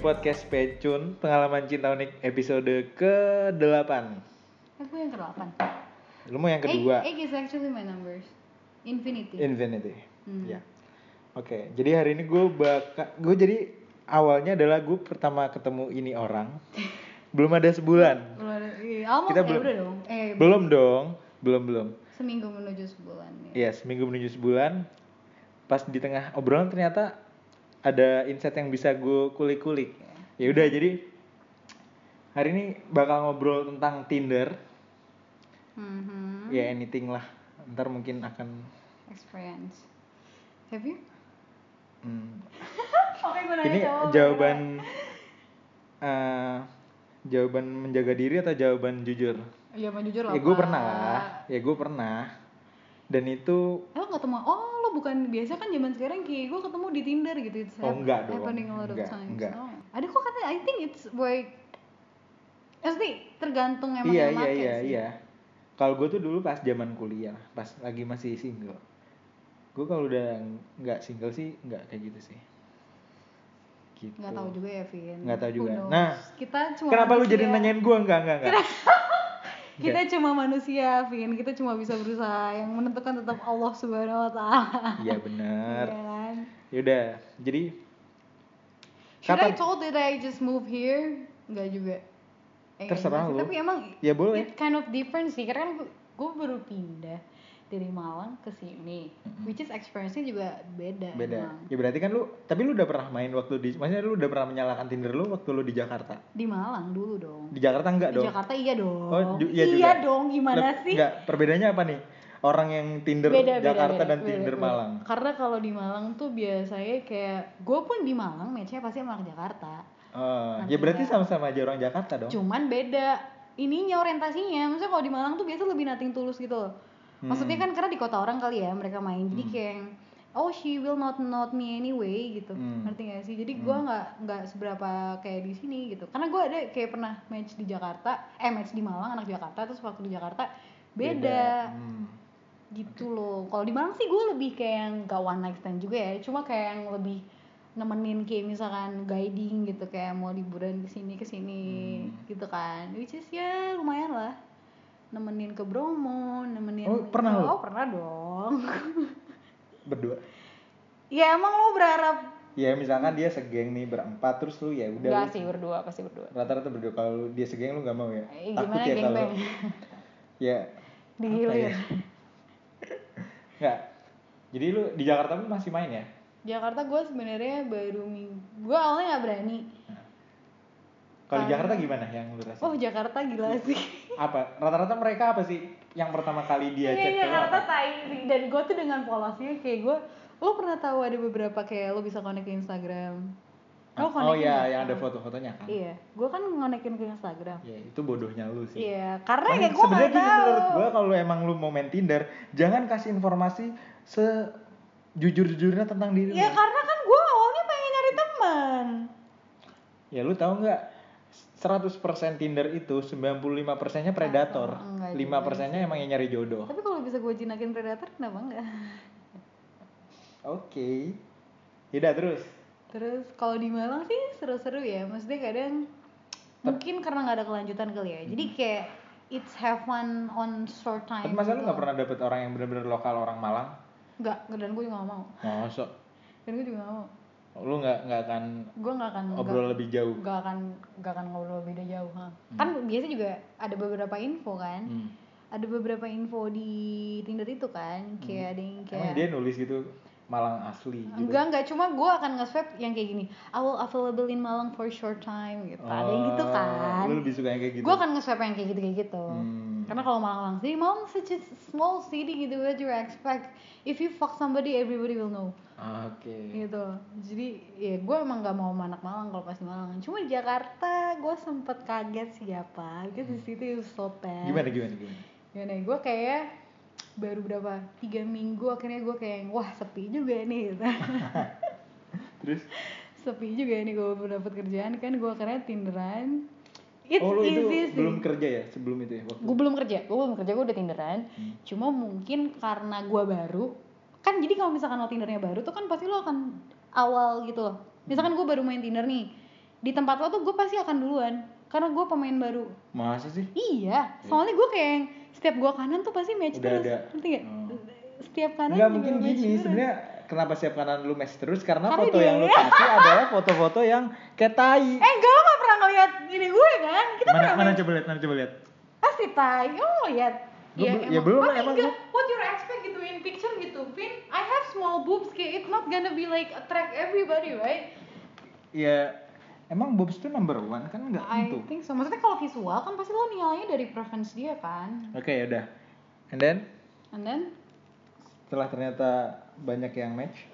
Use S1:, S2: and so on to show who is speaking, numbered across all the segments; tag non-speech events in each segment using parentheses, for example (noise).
S1: podcast Pecun Pengalaman Cinta Unik episode ke-8
S2: Aku yang ke-8.
S1: Lu mau
S2: Eh,
S1: yang kedua? Iya.
S2: Egg, egg is actually my numbers. Infinity.
S1: Infinity
S2: Hmm.
S1: Ya. Oke, jadi hari ini gue bakal Gue jadi awalnya adalah gue pertama ketemu ini
S2: (laughs)
S1: orang Belum ada sebulan
S2: Belum ada- iya, almost,
S1: Kita
S2: eh,
S1: belum-
S2: udah dong. Eh,
S1: Belum dong, belum-belum
S2: seminggu menuju sebulan.
S1: Ya, seminggu menuju sebulan Pas di tengah obrolan ternyata ada insight yang bisa gue kulik-kulik Ya udah,
S2: Hmm.
S1: jadi hari ini bakal ngobrol tentang Tinder
S2: Mhm.
S1: ya anything lah ntar mungkin akan
S2: Experience. Have you?
S1: hmm.
S2: Oke, gue
S1: ini jawaban eh, jawaban menjaga diri atau jawaban jujur
S2: Iya, mau jujur lah.
S1: ya gue
S2: Pak.
S1: pernah lah ya gue pernah dan itu
S2: Eh, lo ketemu, oh lo bukan, biasa kan zaman sekarang kayak gue ketemu di Tinder gitu. It's
S1: Oh,
S2: hap-
S1: enggak dong.
S2: Happening a lot of
S1: Enggak,
S2: times.
S1: enggak.
S2: Oh. Ada kok kata, I think it's like, Pasti tergantung emang
S1: iya
S2: yang
S1: iya
S2: make
S1: iya
S2: sih.
S1: iya kalau gue tuh dulu pas zaman kuliah pas lagi masih single gue kalau udah nggak single sih nggak kayak gitu sih gitu
S2: Nggak tahu juga ya, Vin.
S1: Nggak tahu
S2: Who
S1: juga.
S2: knows?
S1: Nah,
S2: kita cuma ya.
S1: kenapa lu jadi
S2: manusia.
S1: nanyain gue enggak enggak enggak
S2: Kita cuma manusia, Vin. Kita cuma bisa berusaha. Yang menentukan tetap Allah Subhanahu wa taala.
S1: iya bener
S2: Iya kan?
S1: yaudah Ya jadi
S2: Should
S1: Kapan?
S2: I told that I just move here? Enggak juga. Eh,
S1: Terserah
S2: enggak
S1: lu.
S2: sih. Tapi emang
S1: ya boleh
S2: it kind of different sih. Karena kan gue baru pindah dari Malang ke sini. Which is experience-nya juga beda.
S1: beda
S2: emang.
S1: ya berarti kan lu tapi lu udah pernah main waktu di maksudnya lu udah pernah menyalakan tinder lu waktu lu di Jakarta
S2: Di Malang dulu dong.
S1: di Jakarta enggak
S2: Di
S1: dong
S2: Jakarta iya dong.
S1: Oh, ju- iya
S2: iya
S1: juga.
S2: dong, gimana
S1: Lep-
S2: sih?
S1: enggak perbedaannya apa nih orang yang tinder Jakarta dan tinder
S2: beda.
S1: Malang
S2: Karena kalau di Malang tuh biasanya kayak gue pun di Malang matchnya pasti sama orang Jakarta.
S1: Eh,
S2: Nanti
S1: ya berarti
S2: ya.
S1: sama-sama aja orang Jakarta dong
S2: Cuman beda ininya orientasinya. Maksudnya kalau di Malang tuh biasa lebih nating tulus gitu. loh. Maksudnya
S1: Hmm.
S2: kan karena di kota orang kali ya mereka main. Jadi kayak yang, oh she will not not me anyway gitu.
S1: Hmm.
S2: Ngerti gak sih? Jadi gue nggak nggak seberapa kayak di sini gitu. Karena gue ada kayak pernah match di Jakarta, eh match di Malang anak Jakarta terus waktu di Jakarta beda
S1: Hmm.
S2: gitu loh kalau di Malang sih gue lebih kayak yang gak one night stand juga ya cuma kayak yang lebih nemenin kayak misalkan guiding gitu kayak mau liburan kesini kesini
S1: Hmm.
S2: gitu kan which is ya lumayan lah nemenin ke Bromo nemenin
S1: Oh, pernah lu?
S2: oh pernah dong (laughs)
S1: berdua
S2: ya emang lo berharap
S1: ya misalkan dia segeng nih berempat terus lu ya udah
S2: enggak
S1: lu-
S2: sih berdua pasti berdua
S1: rata-rata berdua kalau dia segeng lu nggak mau ya
S2: Eh,
S1: takut
S2: gimana
S1: ya
S2: geng
S1: kalau
S2: bang
S1: (laughs) ya
S2: digilir
S1: iya. (laughs) nggak jadi lu di Jakarta pun masih main ya
S2: Jakarta gue sebenarnya baru minggu gue awalnya nggak berani
S1: kalau di Jakarta gimana yang lu rasain
S2: oh Jakarta gila sih
S1: apa rata-rata mereka apa sih yang pertama kali dia
S2: Iya,
S1: cek
S2: iya,
S1: ke lu
S2: Jakarta
S1: apa?
S2: tai sih. Dan gue tuh dengan polosnya kayak gue, lo pernah tahu ada beberapa kayak lo bisa connect ke Instagram.
S1: Ah, oh
S2: Lo connect
S1: iya
S2: ke-
S1: yang ada foto-fotonya kan
S2: Iya, gue kan ngonekin ke Instagram.
S1: ya itu bodohnya lu sih
S2: Iya, karena
S1: Makanya
S2: ya gue
S1: sebenarnya
S2: nggak
S1: gini,
S2: tahu.
S1: menurut gua kalau emang lu mau main Tinder jangan kasih informasi sejujur-jujurnya tentang diri
S2: Ya
S1: lu
S2: karena kan gue awalnya pengen nyari teman.
S1: ya lu tahu nggak 100% Tinder itu 95 persennya predator 5
S2: Ah, enggak juga
S1: persennya emang yang nyari jodoh
S2: Tapi kalau bisa gue jinakin predator, kenapa enggak?
S1: oke tidak terus
S2: Terus kalau di Malang sih seru-seru ya. Maksudnya kadang mungkin karena nggak ada kelanjutan kali ya. Jadi kayak it's have fun on short time.
S1: Hmm. tapi masa lu
S2: gitu.
S1: nggak pernah dapet orang yang bener-bener lokal orang Malang
S2: Nggak, dan gue juga gak mau.
S1: masa
S2: Dan gue juga gak mau.
S1: lu nggak nggak akan
S2: gue nggak akan
S1: obrol lebih jauh
S2: nggak akan nggak akan ngobrol beda jauh ha. kan biasa juga ada beberapa info kan
S1: Hmm.
S2: ada beberapa info di tinder itu kan kayak ada yang kayak
S1: Hmm. Emang dia nulis gitu Malang asli gitu.
S2: enggak enggak cuma gue akan nge-swap yang kayak gini I will available in Malang for short time gitu ada yang gitu
S1: Oh,
S2: kan
S1: Lu lebih suka yang kayak gitu.
S2: gue akan nge-swap yang kayak gitu kayak gitu
S1: Hmm.
S2: karena kalau Malang sih Malang such a small city gitu what you expect if you fuck somebody everybody will know
S1: Oke.
S2: gitu jadi ya gue emang nggak mau sama anak Malang kalau pas di Malang cuma di Jakarta gue sempet kaget siapa because di situ ya itu sopen
S1: Gimana gimana gimana?
S2: gimana gue kayak baru berapa tiga minggu akhirnya gue kayak wah sepi juga nih gitu. (laughs)
S1: Terus
S2: sepi juga nih gue belum dapat kerjaan kan gue akhirnya tinderan it's
S1: oh lu
S2: easy
S1: itu
S2: sih
S1: belum kerja ya sebelum itu ya waktu.
S2: gue belum kerja gue belum kerja gue udah tinderan
S1: Hmm.
S2: cuma mungkin karena gue baru kan jadi kalau misalkan lo tindernya baru tuh kan pasti lo akan awal gitu loh misalkan gue baru main tinder nih di tempat lo tuh gue pasti akan duluan karena gue pemain baru
S1: Masa sih?
S2: iya soalnya gue kayak yang setiap gue kanan tuh pasti match
S1: Udah
S2: terus
S1: ada.
S2: ngerti gak
S1: Hmm.
S2: setiap kanan
S1: Enggak
S2: juga
S1: mungkin
S2: match
S1: gini
S2: terus.
S1: sebenarnya kenapa siap kanan lu match terus karena,
S2: Karena
S1: foto
S2: dia-
S1: yang lu kasih adalah foto-foto yang kayak tai.
S2: eh enggak lo gak pernah ngeliat ini gue kan kita
S1: mana
S2: pernah
S1: mana
S2: main-
S1: coba lihat, mana coba lihat.
S2: pasti tai Oh, lo lihat
S1: Gua bel- ya belum lah,
S2: Pasti
S1: emang
S2: enggak. what you expect gitu in picture gitu Vin I have small boobs kayak it's not gonna be like attract everybody right
S1: Ya emang Bobs tuh number one kan enggak
S2: I
S1: tentu.
S2: think so maksudnya kalau visual kan pasti lo nilainya dari preference dia kan
S1: Oke, ya udah. And then
S2: and then
S1: setelah ternyata banyak yang match,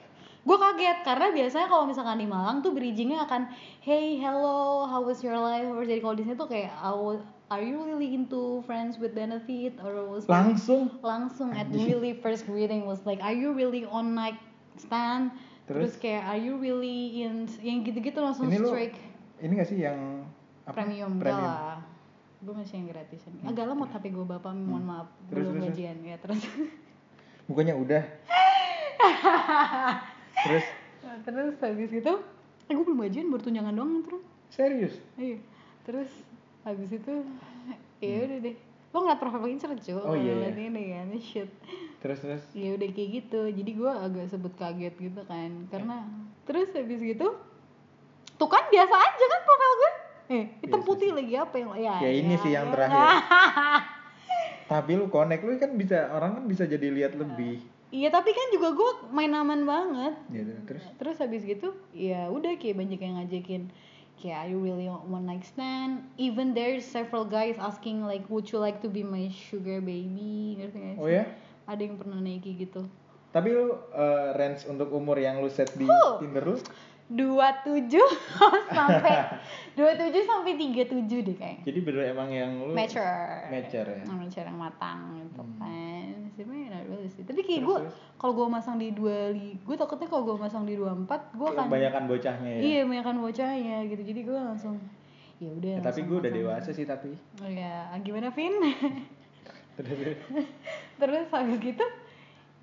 S2: gue kaget karena biasanya kalau misalkan di Malang tuh bridgingnya akan hey hello how was your life How was- jadi kalau di sini tuh kayak "I was- are you really into friends with benefit or was
S1: langsung
S2: langsung at really first greeting was like are you really on like stand
S1: Terus?
S2: terus, kayak are you really in yang gitu-gitu langsung
S1: Ini lu
S2: strike
S1: ini gak sih yang apa? Hmm.
S2: premium enggak lah gue masih yang gratisan agak lemot tapi gue bapak mohon maaf
S1: Terus, terus, terus.
S2: belum gajian ya terus
S1: Bukannya
S2: (laughs)
S1: udah. Terus
S2: terus habis gitu eh gue belum gajian baru tunjangan doang terus
S1: serius.
S2: iya terus habis itu ya udah deh lo ngeliat profil Insta cuy
S1: Hmm. Oh, iya,
S2: ngeliat
S1: iya.
S2: ini kan shit
S1: Terus terus
S2: ya udah kayak gitu jadi gue agak sebut kaget gitu kan karena
S1: Ya.
S2: terus habis gitu tuh kan biasa aja kan profil gue eh hitam
S1: Biasa
S2: putih lagi apa yang ya,
S1: Ya, ini sih yang
S2: (laughs)
S1: terakhir. tapi lu connect lu kan bisa orang kan bisa jadi lihat lebih
S2: iya tapi kan juga gue main aman banget
S1: gitu terus
S2: terus habis gitu ya udah kayak banyak yang ngajakin kayak are you really one night stand even there's several guys asking like would you like to be my sugar baby ngerti nggak
S1: oh
S2: sih?
S1: ya
S2: ada yang pernah naiki gitu
S1: tapi lu eh, range untuk umur yang lu set di
S2: Oh.
S1: Tinder lu
S2: 27 (laughs) sampai 27 sampai 37 deh kayaknya.
S1: jadi bener emang yang lu
S2: Mature.
S1: Mature ya.
S2: Hmm, Mature yang matang gitu
S1: Hmm.
S2: kan. Sebenarnya not really sih. Tapi kayak
S1: Terus,
S2: gue
S1: terus?
S2: kalau gue masang di 25, gue takutnya kalau gue masang di 24 gue akan
S1: kebanyakan bocahnya ya,
S2: kan- Iya, banyakan bocahnya gitu. Jadi gue langsung ya udah.
S1: Ya, tapi
S2: langsung
S1: gue udah
S2: masang.
S1: dewasa sih tapi
S2: Oh ya, gimana Vin?
S1: Terus, (laughs) terus.
S2: (laughs) Terus habis gitu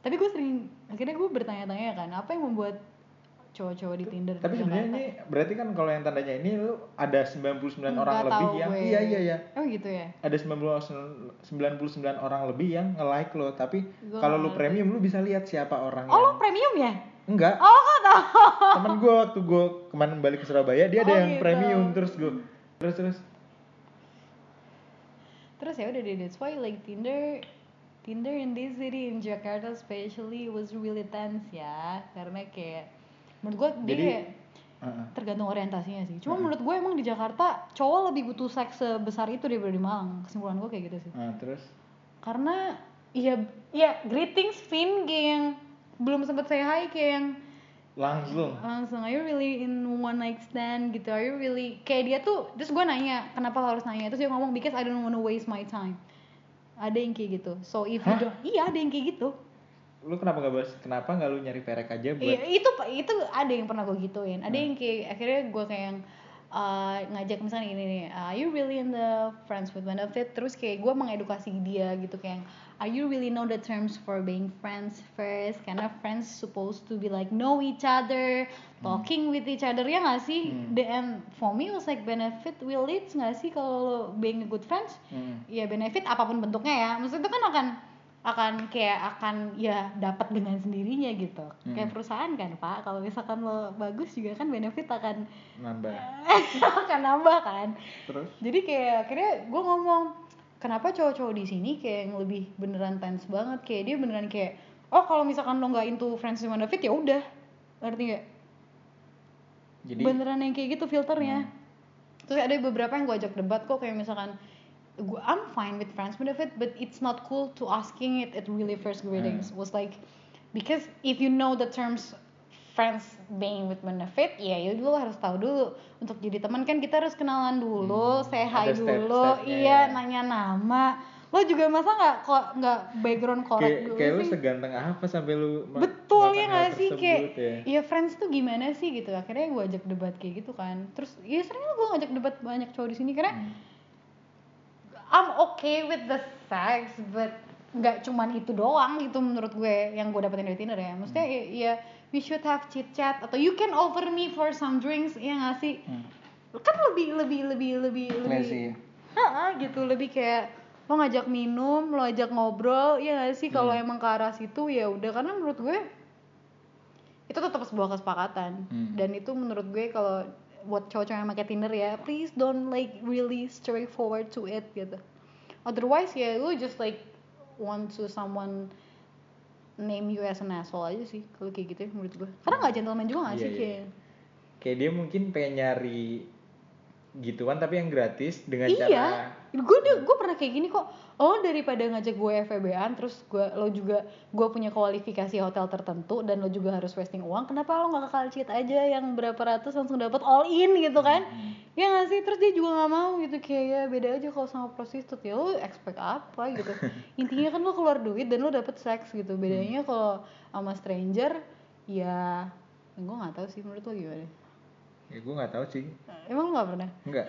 S2: tapi gue sering akhirnya gue bertanya-tanya kan apa yang membuat cowok-cowok di Tinder di
S1: tapi sebenarnya
S2: Jakarta?
S1: ini berarti kan kalau yang tandanya ini lu ada 99 orang
S2: Hmm. Nggak
S1: lebih
S2: tahu
S1: yang
S2: gue.
S1: iya iya iya
S2: Emang gitu ya?
S1: ada 99 99 orang lebih yang nge-like lo tapi
S2: Gua
S1: kalau lu
S2: nggak ngerti.
S1: premium lu bisa lihat siapa orang
S2: Oh lo
S1: yang
S2: premium ya?
S1: enggak
S2: Oh kok tau?
S1: temen gue waktu gue kemarin balik ke Surabaya dia ada
S2: Oh,
S1: yang
S2: gitu.
S1: premium terus gue terus terus
S2: Terus ya udah deh, that's why like Tinder Tinder in this city in Jakarta especially was really tense ya karena kayak menurut gue dia
S1: Jadi- Hmm.
S2: kayak
S1: Heeh.
S2: tergantung orientasinya sih. Cuma menurut gue emang di Jakarta cowok lebih butuh seks sebesar itu daripada di Malang. Kesimpulan gue kayak gitu sih.
S1: Nah, terus
S2: Karena ya ya greetings Finn kayak yang belum sempet say hi kayak yang
S1: langsung
S2: langsung are you really in one night stand gitu are you really kayak dia tuh terus gue nanya kenapa lo harus nanya terus dia ngomong because I don't wanna waste my time ada yang kayak gitu so if you
S1: Hah?
S2: don't iya ada yang kayak gitu
S1: lu kenapa nggak bahas kenapa nggak lu nyari perek aja buat Hmm.
S2: Iya, itu itu ada yang pernah gue gituin ada yang kayak akhirnya gue kayak yang uh, ngajak misalnya gini nih are you really in the friends with benefit terus kayak gue mengedukasi dia gitu kayak yang, are you really know the terms for being friends first karena friends supposed to be like know each other talking with each other ya nggak sih
S1: Hmm.
S2: The- and for me it was like benefit will leads nggak sih kalau lo being a good friends
S1: Hmm.
S2: ya benefit apapun bentuknya ya maksudnya itu kan akan akan kayak akan ya dapat dengan sendirinya gitu kayak
S1: Hmm.
S2: perusahaan kan pak kalau misalkan lo bagus juga kan benefit akan (laughs) Ya.
S1: nambah
S2: akan nambah kan
S1: terus
S2: jadi kayak akhirnya gue ngomong kenapa cowok-cowok di sini kayak yang lebih beneran tense banget kayak dia beneran kayak oh kalau misalkan lo nggak into friends with benefit ya udah ngerti nggak
S1: jadi Hmm.
S2: beneran yang kayak gitu filternya terus ada beberapa yang gue ajak debat kok kayak misalkan gue I'm fine with friends benefit but it's not cool to asking it at really first greetings
S1: Hmm.
S2: was like because if you know the terms friends being with benefit ya ya lo harus tahu dulu untuk jadi teman kan kita harus kenalan dulu
S1: Hmm,
S2: say hi
S1: ada
S2: dulu
S1: step-stepnya
S2: iya
S1: ya.
S2: nanya nama lo juga masa nggak ko- nggak background korek
S1: kayak
S2: dulu
S1: kayak lu
S2: sih?
S1: seganteng apa sampai lu ma-
S2: betul
S1: melakukan hal
S2: ya nggak sih
S1: tersebut
S2: kayak
S1: ya?
S2: ya. friends tuh gimana sih gitu akhirnya gue ajak debat kayak gitu kan terus ya sering lah gue ngajak debat banyak cowok di sini karena
S1: Hmm.
S2: I'm okay with the sex but nggak cuman itu doang gitu menurut gue yang gue dapetin dari Tinder ya maksudnya
S1: Hmm.
S2: ya, ya, we should have chit chat atau you can offer me for some drinks ya nggak sih
S1: Hmm.
S2: kan lebih lebih lebih lebih lebih
S1: sih.
S2: Heeh, gitu lebih kayak lo ngajak minum lo ajak ngobrol ya nggak sih kalau
S1: Hmm.
S2: emang ke arah situ ya udah karena menurut gue itu tetap sebuah kesepakatan
S1: Hmm.
S2: dan itu menurut gue kalau buat cowok-cowok yang pakai Tinder ya please don't like really straightforward to it gitu otherwise ya lo just like want to someone name you as an asshole aja sih kalau kayak gitu ya menurut gue karena nggak gentleman juga nggak
S1: Iya,
S2: sih
S1: iya.
S2: kayak
S1: Kayak dia mungkin pengen nyari gituan tapi yang gratis dengan
S2: iya
S1: cara
S2: gue udah gue pernah kayak gini kok oh daripada ngajak gue FVB-an terus gue lo juga gue punya kualifikasi hotel tertentu dan lo juga harus wasting uang kenapa lo nggak kekal cheat aja yang berapa ratus langsung dapat all in gitu kan
S1: Mm-hmm.
S2: ya nggak sih terus dia juga nggak mau gitu kayak ya beda aja kalau sama prostitut ya lo expect apa
S1: (laughs)
S2: gitu intinya kan lo keluar duit dan lo dapet seks gitu
S1: Mm-hmm.
S2: bedanya kalau sama stranger ya gue nggak tahu sih menurut lo gimana
S1: ya gue nggak tahu sih
S2: emang lo nggak pernah
S1: enggak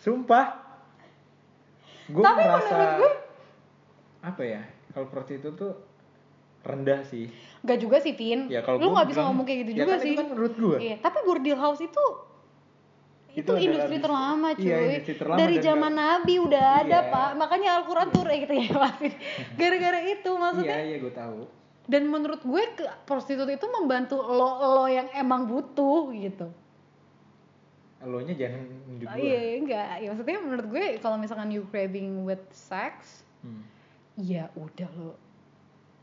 S1: sumpah gue
S2: Tapi
S1: merasa
S2: menurut gue-
S1: apa ya kalau prostitut tuh rendah sih
S2: Gak juga sih, Pin.
S1: Ya, kalau
S2: lu
S1: gua
S2: gak bisa
S1: bilang-
S2: ngomong kayak gitu
S1: ya
S2: juga
S1: kan, itu
S2: sih.
S1: kan menurut gua.
S2: Iya, tapi bordil house itu itu,
S1: Itu adalah
S2: industri
S1: bis-
S2: terlama cuy.
S1: iya, industri terlama
S2: Dari
S1: dan
S2: zaman Nabi udah ada,
S1: Iya.
S2: Pak. Makanya Al-Qur'an tuh eh, gitu ya,
S1: (laughs)
S2: maafin. Gara-gara itu maksudnya.
S1: iya iya gue tahu
S2: Dan menurut gue ke- prostitut itu membantu lo-lo yang emang butuh gitu.
S1: lo nya jangan nunjuk
S2: Oh,
S1: gue
S2: iya, enggak. Ya, maksudnya menurut gue kalau misalkan you craving with sex,
S1: Hmm.
S2: ya udah lo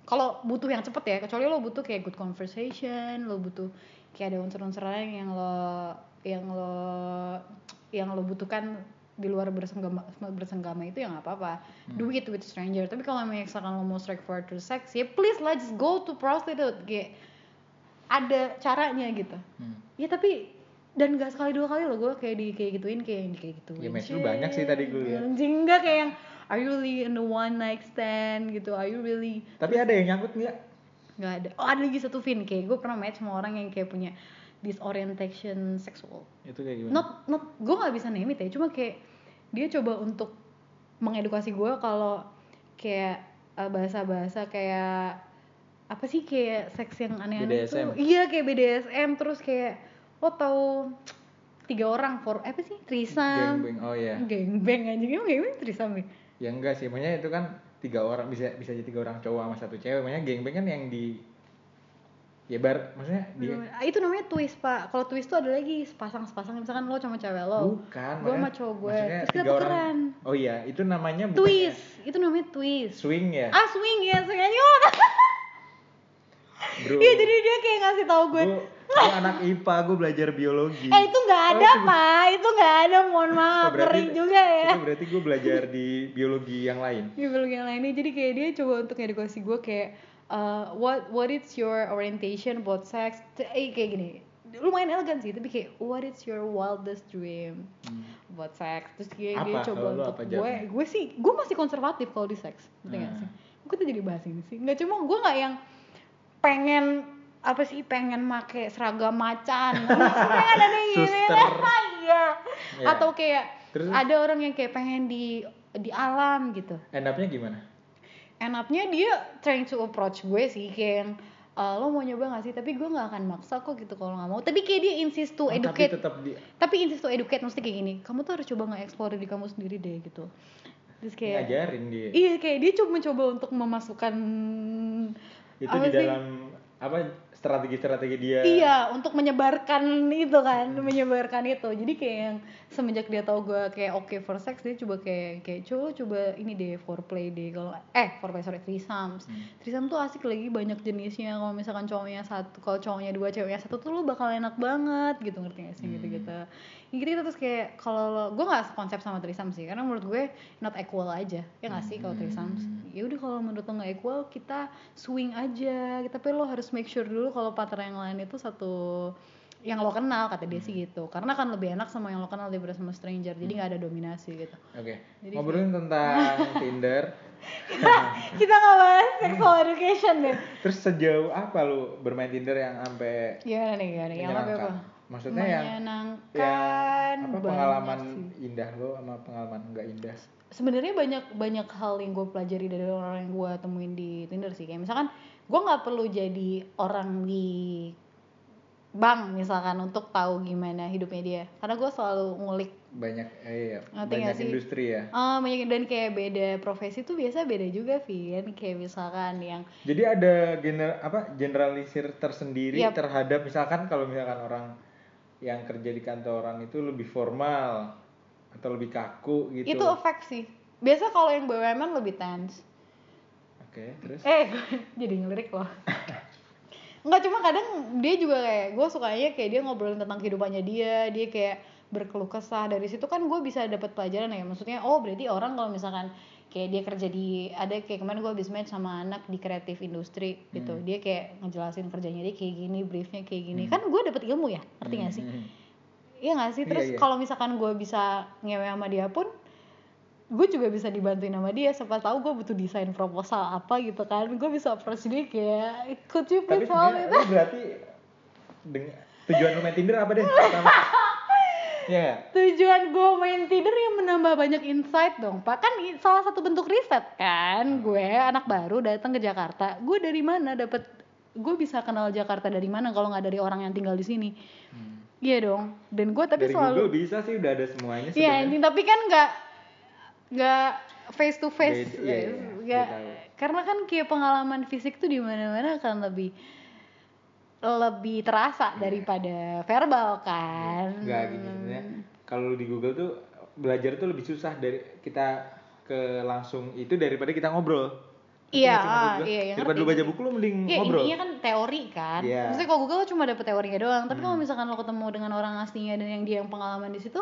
S2: kalau butuh yang cepet ya kecuali lo butuh kayak good conversation lo butuh kayak ada unsur-unsur lain yang lo yang lo yang lo butuhkan di luar bersenggama bersenggama itu ya nggak apa-apa do it with stranger tapi kalau emang misalkan lo mau straightforward to sex ya please lah just go to prostitute kayak ada caranya gitu
S1: Hmm.
S2: ya tapi dan gak sekali dua kali loh gue kayak di kayak gituin kayak di kayak gitu
S1: Ya, match lu banyak sih tadi gue liat.
S2: anjing enggak kayak yang are you really in the one night stand gitu are you really
S1: tapi ada yang nyangkut nggak
S2: nggak ada oh ada lagi satu fin kayak gue pernah match sama orang yang kayak punya disorientation sexual
S1: itu kayak gimana
S2: not not gue nggak bisa name it ya cuma kayak dia coba untuk mengedukasi gue kalau kayak eh, bahasa-bahasa kayak apa sih kayak seks yang aneh-aneh itu
S1: BDSM.
S2: iya kayak BDSM terus kayak lo tau tiga orang for apa sih trisam
S1: Gengbeng, oh ya
S2: gengbeng anjing emang gengbeng trisam ya
S1: ya enggak sih makanya itu kan tiga orang bisa bisa jadi tiga orang cowok sama satu cewek makanya gengbeng kan yang di ya bar maksudnya di
S2: Ah, itu namanya twist pak kalau twist tuh ada lagi sepasang sepasang misalkan lo sama cewek lo
S1: bukan
S2: gue sama
S1: makanya-
S2: cowok gue
S1: maksudnya
S2: terus kita
S1: tiga orang-
S2: tukeran
S1: oh iya itu namanya bukan
S2: twist itu namanya twist
S1: swing ya
S2: ah swing ya swing aja oh,
S1: bro
S2: Iya jadi dia kayak ngasih tahu gue.
S1: Gua- gua anak IPA, gue belajar biologi.
S2: Eh itu nggak ada
S1: Oh,
S2: pak, itu nggak ada. Mohon
S1: itu
S2: maaf,
S1: berarti-
S2: ngeri juga ya.
S1: Itu berarti gue belajar di biologi yang lain.
S2: Di vlog yang lainnya jadi kayak dia coba untuk edukasi gue kayak eh, what what is your orientation about sex? T- Eh kayak gini lumayan elegan sih tapi kayak what is your wildest dream about sex terus dia,
S1: Hmm.
S2: dia
S1: Apa?
S2: coba
S1: Kalau lu
S2: untuk
S1: apa
S2: gue
S1: jawabnya?
S2: gue sih gue masih konservatif kalau di seks ngerti nggak
S1: Hmm.
S2: sih gue tuh jadi bahas ini sih nggak cuma gue nggak yang pengen apa sih pengen make seragam
S1: (laughs)
S2: macan pengen ada yang gini
S1: Suster.
S2: (laughs) iya
S1: Iya.
S2: atau kayak
S1: Terus?
S2: ada orang yang kayak pengen di di alam gitu
S1: End up-nya gimana?
S2: end up-nya dia trying to approach gue sih kayak yang "Eh, lo mau nyoba gak sih tapi gue nggak akan maksa kok gitu kalau nggak mau tapi kayak dia insist
S1: Oh,
S2: to educate
S1: Tapi tetap di
S2: tapi insist to educate mesti kayak gini kamu tuh harus coba nge-explore diri kamu sendiri deh gitu terus kayak
S1: ngajarin dia.
S2: iya kayak dia cuma mencoba untuk memasukkan
S1: itu
S2: apa
S1: di
S2: sih?
S1: dalam apa strategi-strategi dia.
S2: Iya, untuk menyebarkan itu kan, menyebarkan itu. Jadi kayak yang semenjak dia tahu gue kayak oke for sex, dia coba kayak kayak coba coba ini deh foreplay deh kalau eh foreplay sorry threesomes.
S1: Hmm.
S2: Threesome tuh asik lagi banyak jenisnya. Kalau misalkan cowoknya satu, kalau cowoknya dua, ceweknya satu tuh lu bakal enak banget gitu ngerti gak sih
S1: Hmm.
S2: gitu-gitu. Ya gitu, terus kayak kalau lo- gue nggak konsep sama threesome sih, karena menurut gue not equal aja ya nggak sih kalau threesomes
S1: Hmm.
S2: ya udah kalau menurut lo nggak equal kita swing aja tapi lo harus make sure dulu kalau partner yang lain itu satu yang lo kenal kata dia sih gitu karena kan lebih enak sama yang lo kenal daripada sama stranger jadi nggak ada dominasi gitu
S1: Oke.
S2: Jadi
S1: Ngobrolin
S2: (laughs)
S1: tentang Tinder.
S2: kita nggak bahas sexual education deh
S1: Terus sejauh apa lu bermain Tinder yang sampai
S2: gimana nih gimana yang apa apa
S1: menyenangkan? Maksudnya yang
S2: menyenangkan
S1: yang apa
S2: banyak
S1: pengalaman
S2: sih.
S1: indah lo sama pengalaman nggak indah?
S2: sebenarnya banyak banyak hal yang gue pelajari dari orang yang gue temuin di Tinder sih kayak misalkan gue nggak perlu jadi orang di bank misalkan untuk tahu gimana hidupnya dia karena gue selalu ngulik
S1: banyak eh, iya,
S2: Ngerti nggak
S1: banyak
S2: sih?
S1: industri ya
S2: ah banyak dan kayak beda profesi tuh biasa beda juga Vin kayak misalkan yang
S1: Jadi ada gener apa generalisir tersendiri
S2: Yap.
S1: terhadap misalkan kalau misalkan orang yang kerja di kantoran itu lebih formal atau lebih kaku gitu.
S2: itu efek sih biasa kalau yang BUMN lebih tense
S1: Oke, terus
S2: eh (laughs) jadi ngelirik loh Enggak cuma kadang dia juga kayak gue sukanya kayak dia ngobrolin tentang kehidupannya dia dia kayak berkeluh kesah dari situ kan gue bisa dapat pelajaran ya maksudnya oh berarti orang kalau misalkan kayak dia kerja di ada kayak kemarin gue habis match sama anak di kreatif industri gitu
S1: Hmm.
S2: dia kayak ngejelasin kerjanya dia kayak gini briefnya kayak gini kan gue dapet ilmu ya ngerti gak sih
S1: Hmm,
S2: Iya gak sih?
S1: Iya,
S2: Terus
S1: iya.
S2: kalau misalkan gue bisa ngewe sama dia pun gue juga bisa dibantuin sama dia siapa tahu gue butuh desain proposal apa gitu kan gue bisa approach dia kayak could you
S1: Tapi
S2: please help me?"
S1: sebenarnya lu berarti deng- tujuan lu main Tinder apa
S2: (laughs)
S1: deh? Pertama. Iya. nggak?
S2: tujuan gue main Tinder yang menambah banyak insight dong pak kan i- salah satu bentuk riset kan gue anak baru datang ke Jakarta gue dari mana dapat gue bisa kenal Jakarta dari mana kalau nggak dari orang yang tinggal di sini
S1: Hmm.
S2: iya dong dan gue tapi
S1: Dari
S2: selalu
S1: Google bisa sih udah ada semuanya
S2: Iya
S1: sebenarnya.
S2: anjing, tapi kan nggak nggak face to face,
S1: Beda- iya, iya,
S2: nggak
S1: gue tahu.
S2: karena kan kayak pengalaman fisik tuh di mana-mana akan lebih lebih
S1: Iya.
S2: terasa daripada verbal kan.
S1: Enggak gini sebenarnya. Kalau di Google tuh belajar tuh lebih susah dari kita ke langsung itu daripada kita ngobrol. Ngerti
S2: Iya,
S1: nggak sih maksud
S2: ah,
S1: gua?
S2: iya, iya,
S1: Daripada
S2: ngerti,
S1: lu baca
S2: ngerti.
S1: buku lu mending
S2: Ya,
S1: ngobrol.
S2: intinya kan teori kan.
S1: Iya. Hmm.
S2: Maksudnya kalau Google cuma dapet teorinya doang, tapi kalau misalkan lo ketemu dengan orang aslinya dan yang dia yang pengalaman di situ,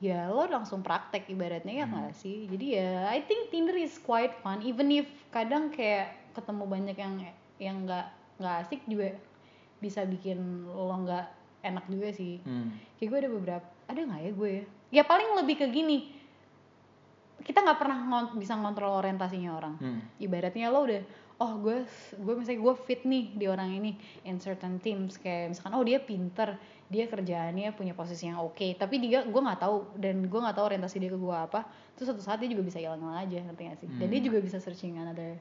S2: ya lo langsung praktek ibaratnya ya
S1: Hmm.
S2: nggak sih. Jadi ya I think Tinder is quite fun even if kadang kayak ketemu banyak yang yang nggak nggak asik juga bisa bikin lo nggak enak juga sih.
S1: Hmm.
S2: Kayak gue ada beberapa, ada nggak ya gue ya? Ya paling lebih ke gini, kita nggak pernah ngon- bisa ngontrol orientasinya orang
S1: Hmm.
S2: ibaratnya lo udah oh gue gue misalnya gue fit nih di orang ini in certain teams kayak misalkan oh dia pinter dia kerjaannya punya posisi yang oke tapi dia gue nggak tahu dan gue nggak tahu orientasi dia ke gue apa terus suatu saat dia juga bisa hilang hilang aja nanti gak sih dan dia
S1: Hmm.
S2: juga bisa searching another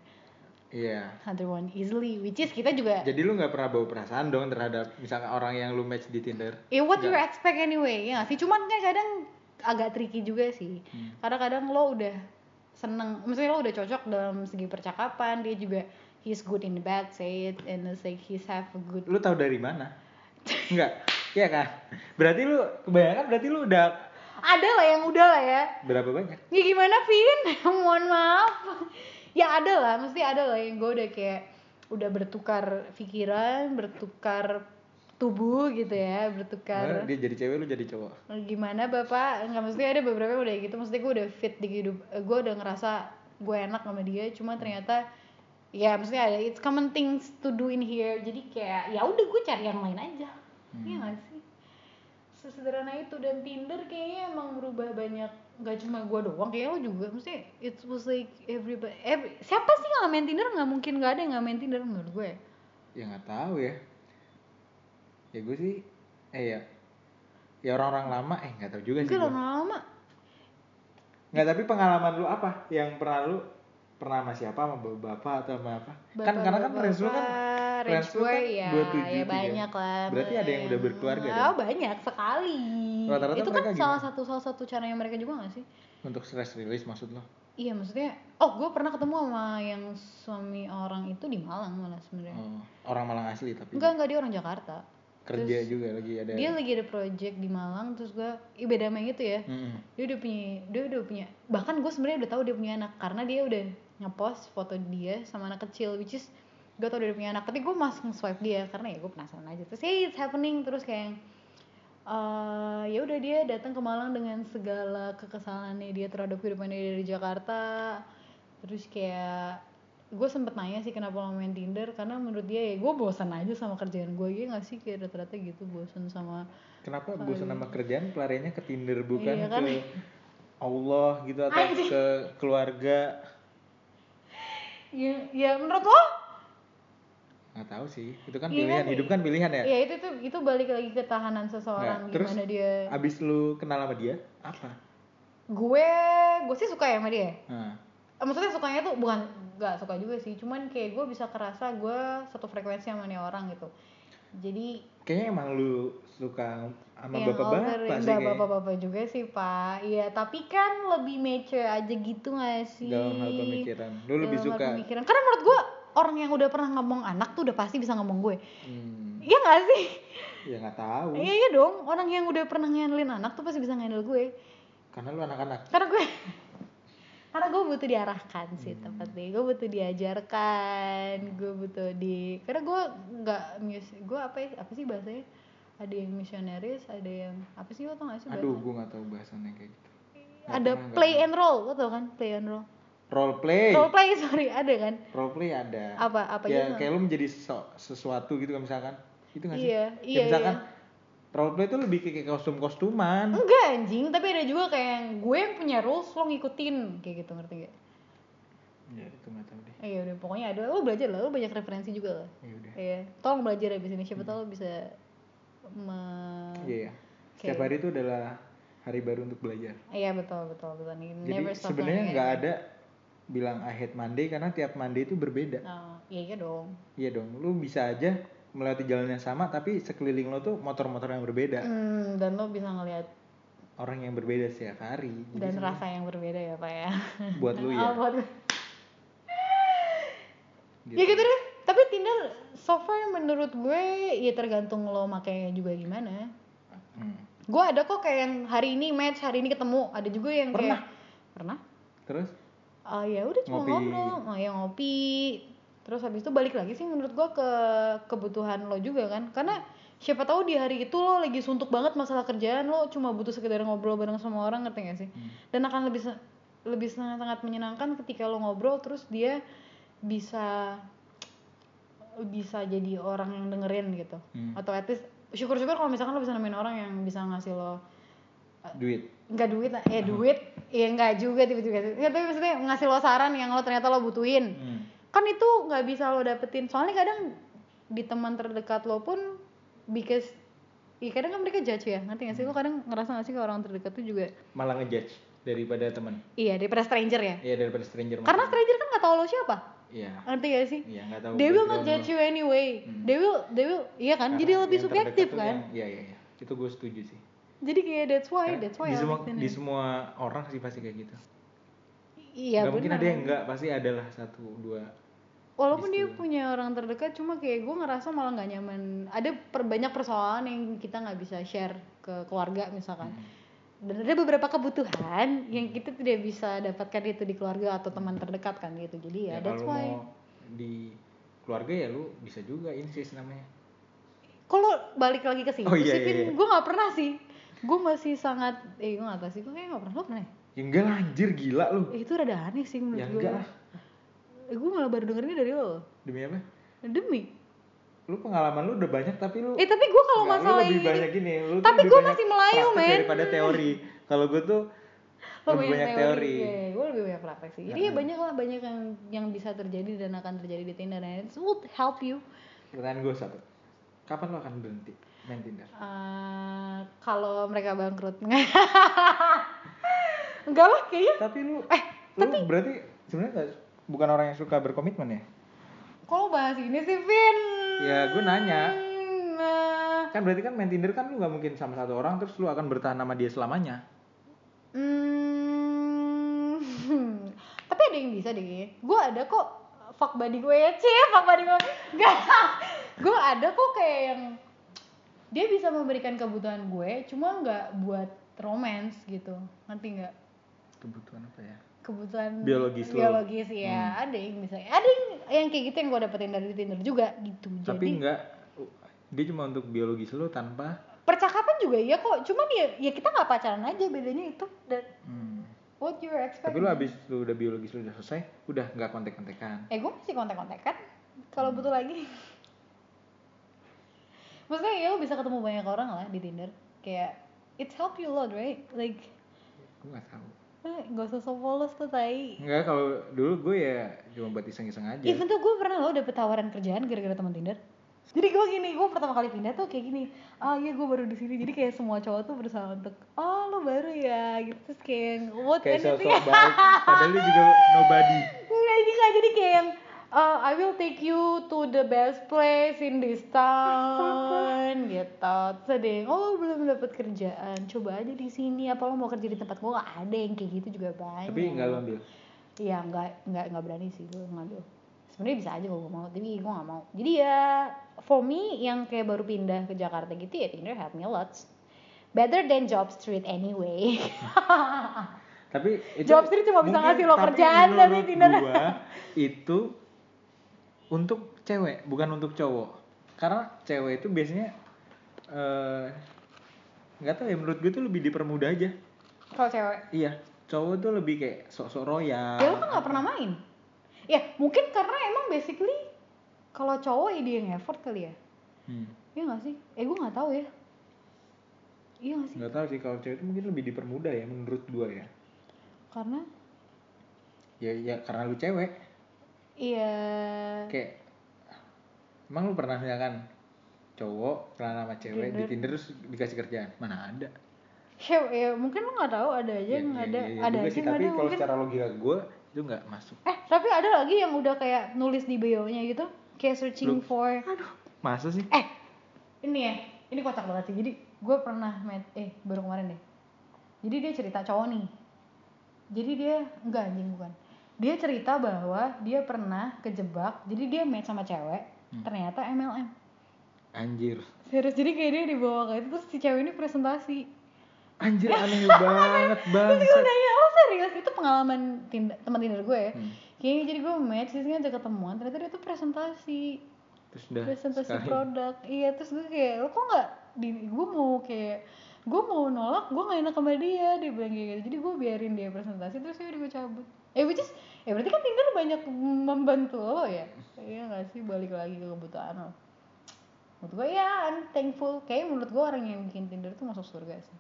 S1: Iya.
S2: another one easily which is kita juga
S1: Jadi lu nggak pernah bawa perasaan dong terhadap misalkan orang yang lu match di Tinder.
S2: eh what you
S1: Nggak.
S2: expect anyway ya nggak sih cuman kan kadang agak tricky juga sih
S1: Hmm.
S2: kadang-kadang lo udah seneng maksudnya lo udah cocok dalam segi percakapan dia juga he's good in the bad say it and it's like he's have a good
S1: Lu tahu dari mana? Enggak. Iya kan? Berarti lu kebanyakan berarti lu udah
S2: ada lah yang udah lah ya
S1: berapa banyak?
S2: ya gimana Vin (laughs) mohon maaf ya ada lah mesti ada lah yang gue udah kayak udah bertukar pikiran bertukar tubuh gitu ya bertukar
S1: Dia jadi cewek lu jadi cowok.
S2: gimana bapak nggak mesti ada beberapa yang udah gitu mesti gue udah fit di hidup gue udah ngerasa gue enak sama dia cuma ternyata ya maksudnya ada it's common things to do in here jadi kayak ya udah gue cari yang lain aja iya gak sih sesederhana itu dan Tinder kayaknya emang berubah banyak nggak cuma gue doang kayaknya lo juga mesti it was like everybody every, siapa sih yang nggak main Tinder nggak mungkin nggak ada yang nggak main Tinder menurut gue
S1: ya nggak tahu ya ya gue sih eh ya ya orang-orang lama eh nggak tahu juga sih
S2: gue
S1: gua.
S2: lama-lama
S1: nggak tapi pengalaman lu apa yang pernah lu pernah sama siapa sama bapak atau sama apa kan karena kan
S2: Bapak-bapak,
S1: range lu kan
S2: range
S1: range lu
S2: gue
S1: kan
S2: ya,
S1: 27,
S2: ya
S1: tiga.
S2: banyak lah.
S1: Berarti ada yang udah berkeluarga
S2: Ah,
S1: dong?
S2: banyak sekali.
S1: Rata-rata
S2: itu kan
S1: mereka
S2: salah
S1: gimana?
S2: satu salah satu caranya mereka juga gak sih?
S1: untuk stress release maksud lo
S2: Iya maksudnya, oh gue pernah ketemu sama yang suami orang itu di Malang malah sebenarnya.
S1: Oh, iya. orang Malang asli tapi
S2: Iya. Enggak enggak dia orang Jakarta.
S1: kerja juga lagi ada
S2: Dia lagi ada project di Malang terus gue, ih beda sama yang itu ya.
S1: Mm-mm.
S2: Dia udah punya, dia udah punya. Bahkan gue sebenarnya udah tahu dia punya anak karena dia udah ngepost foto dia sama anak kecil which is gue tau dia udah punya anak tapi gue masuk swipe dia karena ya gue penasaran aja terus hey it's happening terus kayak yang, eh ya udah dia datang ke Malang dengan segala kekesalannya dia terhadap kehidupannya dia dari Jakarta terus kayak gue sempet nanya sih kenapa lo main Tinder karena menurut dia ya gue bosan aja sama kerjaan gue ya nggak sih kayak rata-rata gitu bosan sama
S1: kenapa bosan sama kerjaan pelariannya ke Tinder bukan
S2: Iya kan?
S1: ke Allah gitu atau
S2: Anjing.
S1: ke keluarga
S2: ya, ya menurut lo
S1: nggak tahu sih itu kan
S2: Iya
S1: pilihan
S2: kan?
S1: hidup kan pilihan ya
S2: ya itu tuh itu balik lagi ke tahanan
S1: Nggak,
S2: seseorang
S1: Nah, terus
S2: gimana dia
S1: abis lu kenal sama dia apa
S2: gue gue sih suka ya sama dia
S1: Nah,
S2: Eh, maksudnya sukanya tuh bukan nggak suka juga sih cuman kayak gue bisa kerasa gue satu frekuensi sama nih orang gitu jadi
S1: Kayaknya emang lu suka sama
S2: yang
S1: bapak-bapak
S2: older-
S1: sih
S2: enggak,
S1: kayaknya.
S2: bapak-bapak juga sih pak iya tapi kan lebih mature aja gitu gak sih
S1: Dalam hal pemikiran. Lu lebih
S2: Dalam hal
S1: suka.
S2: pemikiran. karena menurut gue orang yang udah pernah ngomong anak tuh udah pasti bisa ngomong gue
S1: Hmm,
S2: iya gak sih
S1: ya nggak tahu.
S2: iya iya dong orang yang udah pernah ngandelin anak tuh pasti bisa ngandelin gue
S1: Karena lu anak-anak.
S2: karena gue (laughs) karena gue butuh diarahkan sih tempatnya gue butuh diajarkan gue butuh di karena gue nggak mus gue apa ya apa sih bahasanya ada yang misionaris ada yang apa sih lo tau gak sih
S1: Aduh,
S2: bahasanya?
S1: gue nggak tahu bahasannya kayak gitu. Nggak
S2: ada
S1: pernah, nggak
S2: play
S1: pernah.
S2: and roll lo tau kan play and roll
S1: role play.
S2: role play (laughs) sorry ada kan
S1: Role play ada.
S2: Apa- apa
S1: ya,
S2: aja?
S1: kayak lu menjadi sesu- sesuatu gitu kan misalkan. Itu nggak sih?
S2: Iya,
S1: Kayak
S2: iya,
S1: misalkan
S2: iya.
S1: role play itu lebih kayak kayak kostum-kostuman.
S2: enggak anjing tapi ada juga kayak yang gue yang punya rules lo ngikutin kayak gitu ngerti gak Hmm.
S1: Ya, itu nggak tahu deh.
S2: iya udah pokoknya ada lo belajar lah lo banyak referensi juga lah
S1: Ya udah.
S2: Iya, tolong belajar abis ini siapa tau lo bisa me-
S1: Iya, iya. Setiap
S2: Kayak-
S1: hari itu adalah hari baru untuk belajar.
S2: Iya betul betul betul. Ini
S1: Jadi
S2: Never stop
S1: sebenarnya
S2: learning,
S1: nggak
S2: ya.
S1: ada bilang I hate Monday karena tiap Monday itu berbeda.
S2: Oh, iya iya dong.
S1: Iya dong, lu bisa aja melewati jalan yang sama tapi sekeliling lo tuh motor-motor yang berbeda,
S2: Hmm, dan lo bisa ngelihat
S1: orang yang berbeda setiap hari. Jadi
S2: dan
S1: sebenarnya
S2: rasa yang berbeda ya pak ya.
S1: buat lu
S2: Oh,
S1: ya.
S2: buat lo.
S1: gitu.
S2: Ya gitu deh. Tapi Tinder so far menurut gue ya tergantung lo makanya juga gimana.
S1: Hmm.
S2: Gue ada kok kayak yang hari ini match, hari ini ketemu. Ada juga yang kayak pernah.
S1: Terus
S2: Oh ya udah cuma
S1: Ngopi.
S2: ngobrol, oh, ya ngopi. Terus habis itu balik lagi sih menurut gua ke kebutuhan lo juga kan. Karena siapa tahu di hari itu lo lagi suntuk banget masalah kerjaan lo cuma butuh sekedar ngobrol bareng sama orang ngerti gak sih?
S1: Hmm.
S2: Dan akan lebih se- lebih sangat-sangat menyenangkan ketika lo ngobrol terus dia bisa bisa jadi orang yang dengerin gitu.
S1: Hmm.
S2: Atau at least syukur-syukur kalau misalkan lo bisa nemuin orang yang bisa ngasih lo Eh.
S1: duit.
S2: nggak duit lah. eh duit ya nggak juga tiba-tiba nggak tapi maksudnya ngasih lo saran yang lo ternyata lo butuhin
S1: Hmm.
S2: kan itu nggak bisa lo dapetin soalnya kadang di teman terdekat lo pun because ya kadang kan mereka judge ya ngerti nggak sih lo kadang ngerasa nggak sih kalau orang terdekat tuh juga
S1: Malah ngejudge daripada teman.
S2: iya daripada stranger ya
S1: Iya daripada stranger.
S2: karena
S1: maksudnya.
S2: stranger kan nggak tahu lo siapa
S1: Iya.
S2: ngerti gak sih
S1: Iya nggak tahu.
S2: they will
S1: background
S2: not judge
S1: lo.
S2: you anyway
S1: Hmm.
S2: they will they will iya kan
S1: Karena
S2: jadi lebih
S1: yang terdekat
S2: subjektif
S1: tuh
S2: kan
S1: yang- Iya iya iya. Itu gue setuju sih.
S2: jadi kayak that's why
S1: Karena
S2: that's why
S1: di
S2: I
S1: semua
S2: like Tinder.
S1: di semua orang sih pasti kayak gitu.
S2: iya
S1: Nggak mungkin
S2: benar.
S1: ada yang enggak, pasti adalah satu dua.
S2: walaupun dia
S1: Justru.
S2: punya orang terdekat cuma kayak gue ngerasa malah nggak nyaman ada per, banyak persoalan yang kita nggak bisa share ke keluarga misalkan
S1: Hmm.
S2: dan ada beberapa kebutuhan yang kita tidak bisa dapatkan itu di keluarga atau teman terdekat kan gitu jadi ya,
S1: Ya,
S2: that's
S1: kalau
S2: why
S1: mau di keluarga ya lu bisa juga insist namanya.
S2: kalau balik lagi ke sini
S1: Oh, iya,
S2: sih
S1: iya, iya.
S2: gue nggak pernah sih gue masih sangat eh gue nggak tahu sih gue kayak nggak pernah lo pernah ya?
S1: Ya enggak lah anjir gila lu.
S2: Eh, itu rada aneh sih menurut
S1: Ya
S2: gue
S1: enggak lah.
S2: eh, gue malah baru denger ini dari lo
S1: Demi apa?
S2: demi
S1: Lu pengalaman lu udah banyak tapi lu
S2: eh tapi gue kalau
S1: Enggak, lu
S2: masalah
S1: lebih
S2: ini
S1: banyak gini, lu tuh
S2: Tapi
S1: lebih
S2: gua
S1: banyak
S2: masih melayu,
S1: praktek
S2: men.
S1: Daripada teori. Kalau gue
S2: (laughs)
S1: tuh
S2: Lo
S1: lebih banyak teori. Iya.
S2: Iya, gue lebih banyak praktek sih. Jadi ya banyak lah banyak yang yang bisa terjadi dan akan terjadi di Tinder and it would help you.
S1: Pertanyaan gue satu. Kapan lu akan berhenti main Tinder?
S2: Eh, kalau mereka bangkrut (laughs) enggak lah kayaknya
S1: Tapi lu
S2: eh
S1: lu berarti sebenarnya nggak- bukan orang yang suka berkomitmen ya?
S2: kalau bahas ini sih Vin
S1: Ya, gue nanya.
S2: Eh,
S1: Kan berarti kan main Tinder kan lu nggak mungkin sama satu orang terus lu akan bertahan sama dia selamanya.
S2: hmm, (laughs) tapi ada yang bisa deh gue ada kok fuck buddy gue ya cie fuck buddy gue (laughs) gak gue ada kok kayak yang dia bisa memberikan kebutuhan gue cuma nggak buat romance gitu nanti nggak
S1: Kebutuhan apa ya?
S2: kebutuhan
S1: Biologis Hmm. lo.
S2: biologis ya ada yang bisa ada yang yang kayak gitu yang gue dapetin dari tinder juga gitu
S1: Tapi
S2: jadi
S1: enggak dia cuma untuk biologis lu tanpa
S2: percakapan juga iya kok cuman ya ya kita nggak pacaran aja bedanya itu dan
S1: hmm.
S2: what you expect
S1: Tapi lu abis lu udah biologis lu udah selesai, udah nggak kontek-kontekan.
S2: Eh gue masih kontak-kontakan kalau butuh lagi. Maksudnya ya lo bisa ketemu banyak orang lah di Tinder. Kayak it's help you a lot right? Like
S1: Gue nggak tahu.
S2: eh, gak usah so polos tuh tai.
S1: Enggak, kalau dulu gue ya cuma buat iseng-iseng aja.
S2: Even tuh gue pernah lo dapet tawaran kerjaan gara-gara teman Tinder. Jadi gue gini, gue pertama kali pindah tuh kayak gini. Ah iya gue baru di sini. Jadi kayak semua cowok tuh berusaha untuk oh lo baru ya gitu terus kayak what
S1: kayak
S2: anything.
S1: sosok baik padahal dia juga nobody
S2: Nggak, ini nggak jadi kayak yang uh, I will take you to the best place in this
S1: (laughs)
S2: town gitu sedih oh belum dapat kerjaan coba aja di sini apa lo mau kerja di tempat gue nggak ada yang kayak gitu juga banyak
S1: Tapi nggak lo ambil.
S2: iya nggak nggak nggak berani sih gue ngambil sebenarnya bisa aja kalau gue mau tapi gue nggak mau jadi ya for me yang kayak baru pindah ke Jakarta gitu ya Tinder help me lots better than job street anyway (laughs)
S1: Tapi itu
S2: Job Street cuma bisa ngasih lo kerjaan tapi
S1: menurut
S2: Tinder.
S1: gua, itu untuk cewek, bukan untuk cowok. Karena cewek itu biasanya eh, nggak tahu ya menurut gue tuh lebih dipermudah aja.
S2: kalau cewek
S1: Iya, cowok tuh lebih kayak sok-sok royal.
S2: Ya lo kan gak pernah main. Ya mungkin karena emang basically kalau cowok ya dia yang effort kali ya.
S1: Hmm.
S2: Iya gak sih? Eh gue gak tahu ya. Iya gak sih?
S1: Nggak tahu sih kalau cewek itu mungkin lebih dipermudah ya menurut gua ya.
S2: Karena
S1: Ya ya karena lu cewek.
S2: iya
S1: Kayak emang lu pernah misalkan cowok celana sama cewek di Tinder
S2: Tinder.
S1: terus dikasih kerjaan? Mana ada?
S2: Syep, ya mungkin lo gak tahu ada
S1: Ya,
S2: aja yang
S1: ya,
S2: ada
S1: ya, ya juga
S2: ada aja
S1: sih,
S2: yang
S1: tapi
S2: ada
S1: kalau
S2: mungkin.
S1: secara logika gue itu nggak masuk
S2: Eh tapi ada lagi yang udah kayak nulis di bio-nya gitu kayak searching
S1: Lu-
S2: for
S1: masa sih
S2: Eh ini ya ini kocak banget sih. Jadi gue pernah met eh baru kemarin deh. Jadi dia cerita cowok nih. Jadi dia enggak anjing bukan. Dia cerita bahwa dia pernah kejebak. Jadi dia match sama cewek.
S1: Hmm.
S2: Ternyata MLM.
S1: anjir
S2: Serius jadi kayak dia dibawa ke itu terus si cewek ini presentasi.
S1: anjir
S2: (laughs)
S1: aneh banget
S2: Terus gue
S1: banget
S2: nanya, oh serius? Itu pengalaman tind- teman Tinder gue ya.
S1: Hmm.
S2: Kayaknya jadi gue match, terus ngajak ketemuan, ternyata dia tuh presentasi.
S1: terus udah
S2: presentasi
S1: sekali.
S2: produk iya terus gue kayak lo kok nggak di gue mau kayak gue mau nolak gue nggak enak sama dia dia bilang kayak gitu jadi gue biarin dia presentasi terus ya udah gue cabut eh which is eh berarti kan Tinder banyak membantu lo ya iya nggak sih balik lagi ke kebutuhan lo menurut gue ya I'm thankful kayak menurut gue orang yang bikin Tinder tuh masuk surga
S1: (laughs)
S2: sih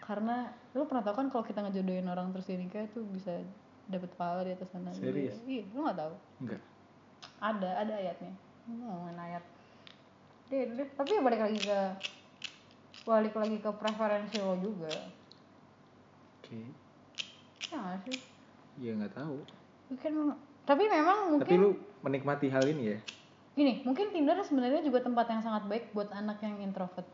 S2: karena lo pernah tau kan kalau kita ngejodohin orang terus dia nikah tuh bisa dapat pahala di atas sana
S1: Serius?
S2: iya lo nggak tahu
S1: enggak
S2: ada ada ayatnya
S1: Hmm,
S2: ngomongin ayat deh, deh. tapi ya balik lagi ke balik lagi ke preferensi lo juga
S1: oke
S2: ya nggak sih
S1: ya nggak tahu
S2: You can- tapi memang mungkin
S1: tapi lu menikmati hal ini ya
S2: gini mungkin Tinder sebenarnya juga tempat yang sangat baik buat anak yang introvert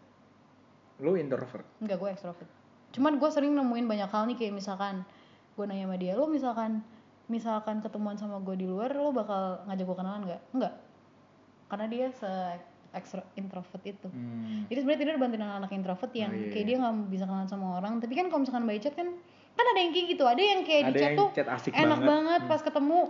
S1: lu introvert
S2: Enggak, gue extrovert. Cuman gue sering nemuin banyak hal nih kayak misalkan gue nanya sama dia, lo misalkan misalkan ketemuan sama gue di luar, lo bakal ngajak gue kenalan nggak? Enggak. Karena dia se extro introvert itu.
S1: Hmm.
S2: Jadi sebenarnya Tinder bantuin anak-anak introvert yang
S1: Oh, iya,
S2: kayak
S1: iya.
S2: dia nggak bisa kenalan sama orang. Tapi kan kalau misalkan by chat kan kan ada yang kayak gitu, ada yang kayak di
S1: Ada
S2: chat
S1: yang
S2: tuh
S1: chat asik
S2: enak
S1: banget. Hmm.
S2: banget pas ketemu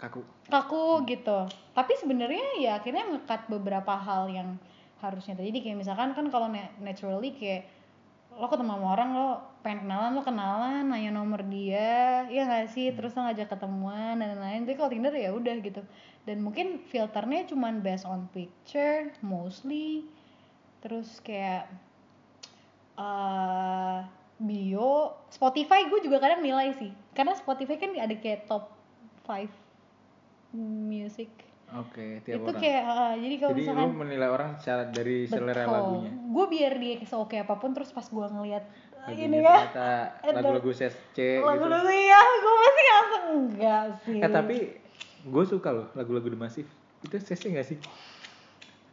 S1: kaku
S2: kaku gitu tapi sebenarnya ya akhirnya ngekat beberapa hal yang harusnya terjadi kayak misalkan kan kalau na- naturally kayak lo ketemu sama orang lo pengen kenalan lo kenalan nanya nomor dia ya nggak sih terus lo ngajak ketemuan dan lain-lain tapi kalau Tinder ya udah gitu dan mungkin filternya cuman based on picture mostly terus kayak eh bio Spotify gue juga kadang nilai sih karena Spotify kan ada kayak top 5 music
S1: oke tiap
S2: itu
S1: orang
S2: kayak eh, jadi kalau
S1: jadi
S2: misalkan
S1: lu menilai orang secara dari selera lagunya
S2: gue biar dia seoke apapun terus pas gue ngeliat eh,
S1: Lagunya
S2: ini ya
S1: ternyata
S2: ada-
S1: lagu-lagu SSC
S2: lagu
S1: gitu
S2: lagu ya gue masih langsung enggak sih
S1: eh tapi gue suka loh lagu-lagu The Massive itu SSC nggak sih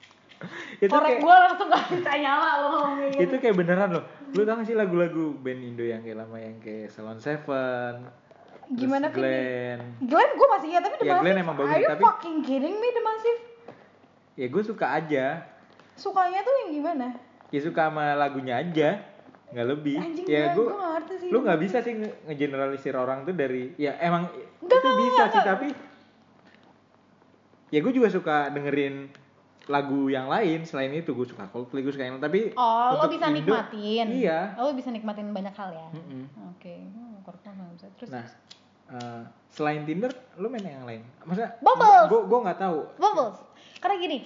S1: (laughs) itu kayak-
S2: korek
S1: Iya.
S2: gue langsung gak bisa nyala lo ngomong kayak gitu
S1: itu kayak beneran loh lu tau gak sih lagu-lagu band Indo yang kayak lama yang kayak Salon Seven terus
S2: gimana sih
S1: Glenn
S2: Glenn gue masih ya tapi The
S1: Ya,
S2: Massive
S1: Glenn emang bagus,
S2: are you
S1: tapi-
S2: fucking kidding me The Massive
S1: ya gue suka aja
S2: sukanya tuh yang gimana
S1: ya suka sama lagunya aja nggak lebih
S2: anjing
S1: ya
S2: gue
S1: gue
S2: gak ngerti sih
S1: lu nggak bisa sih nge- ngegeneralisir orang tuh dari ya emang itu
S2: Enggak, enggak,
S1: bisa
S2: enggak,
S1: sih
S2: enggak.
S1: tapi ya gue juga suka dengerin lagu yang lain selain itu gue suka Coldplay gue suka yang tapi
S2: oh lo
S1: untuk
S2: bisa
S1: Indo,
S2: nikmatin
S1: iya
S2: lo bisa nikmatin banyak hal ya
S1: Mm-mm.
S2: oke hmm, korek gue nggak bisa terus
S1: Nah, eh, selain Tinder, lu main yang lain? Maksudnya?
S2: Bumble.
S1: Gue gue nggak tahu.
S2: Bubbles. Karena gini,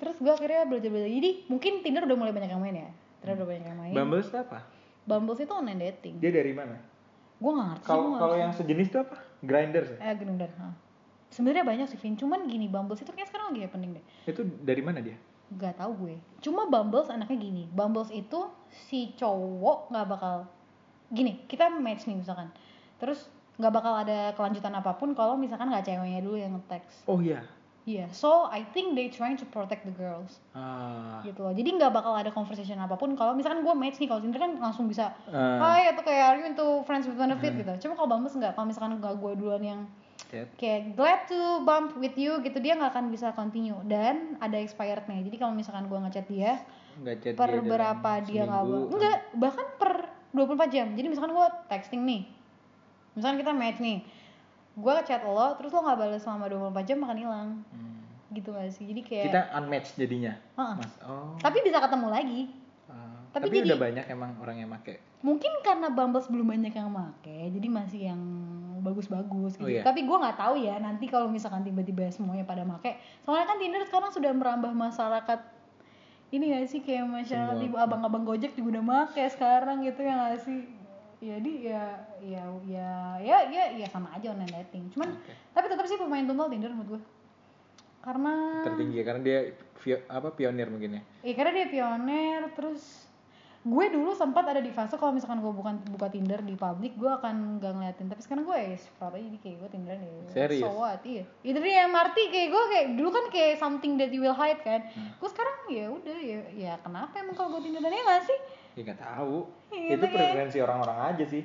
S2: terus gue akhirnya belajar belajar. Jadi mungkin Tinder udah mulai banyak yang main ya. Tinder udah banyak yang main.
S1: Bumble itu apa?
S2: Bumbles itu online dating.
S1: Dia dari mana?
S2: Gue gak ngerti.
S1: Kalau
S2: gua
S1: kalau
S2: nggak
S1: yang sejenis itu apa? ya? Grinder sih.
S2: ngerti. eh gini udah. ha. Sebenarnya banyak sih Vin, cuman gini Bumbles itu kayak sekarang lagi happening deh.
S1: Itu dari mana dia?
S2: Gak tau gue. Cuma Bumbles anaknya gini. Bumbles itu si cowok nggak bakal gini. Kita match nih misalkan. Terus nggak bakal ada kelanjutan apapun kalau misalkan nggak ceweknya dulu yang nge-text
S1: oh iya
S2: Iya, so I think they trying to protect the girls
S1: ah
S2: gitu loh. Jadi nggak bakal ada conversation apapun kalau misalkan gue match nih kalau Tinder kan langsung bisa
S1: Ah.
S2: Hai atau kayak are you into friends with benefit
S1: Nah.
S2: gitu. Cuma kalau Bumble nggak, kalau misalkan nggak gue duluan yang
S1: Chat.
S2: kayak glad to bump with you gitu dia nggak akan bisa continue dan ada expirednya. Jadi kalau misalkan gue ngechat dia
S1: nggak chat
S2: per
S1: dia dalam
S2: berapa dia nggak
S1: Iya, seminggu.
S2: enggak bahkan per 24 jam jadi misalkan gue texting nih misalkan kita match nih gue chat lo terus lo nggak balas selama 24 jam akan hilang
S1: Hmm.
S2: gitu gak sih jadi kayak
S1: kita unmatched jadinya
S2: Heeh.
S1: mas oh
S2: Ah. tapi bisa ketemu lagi
S1: ah.
S2: tapi
S1: tapi,
S2: jadi-
S1: udah banyak emang orang yang make
S2: mungkin karena Bumble belum banyak yang make jadi masih yang bagus-bagus gitu
S1: Oh, iya.
S2: tapi gue nggak tahu ya nanti kalau misalkan tiba-tiba semuanya pada make soalnya kan Tinder sekarang sudah merambah masyarakat ini gak sih kayak masyarakat
S1: Semua.
S2: ibu abang-abang gojek juga udah make sekarang gitu ya gak sih jadi ya ya ya ya ya ya sama aja online dating cuman
S1: Oke.
S2: tapi tetap sih pemain tunggal Tinder menurut gue karena
S1: tertinggi ya, karena dia pio- apa pionir mungkin ya
S2: Iya karena dia pioner terus gue dulu sempat ada di fase kalau misalkan gue bukan buka Tinder di publik gue akan gak ngeliatin tapi sekarang gue ya scroll aja jadi kayak gue Tinderan ya
S1: Serius?
S2: so what iya itu dia MRT kayak gue kayak dulu kan kayak something that you will hide kan gue sekarang ya udah ya ya kenapa emang kalau gue Tinderan ya gak sih
S1: ya nggak tahu
S2: Iya,
S1: itu
S2: makanya.
S1: preferensi orang-orang aja sih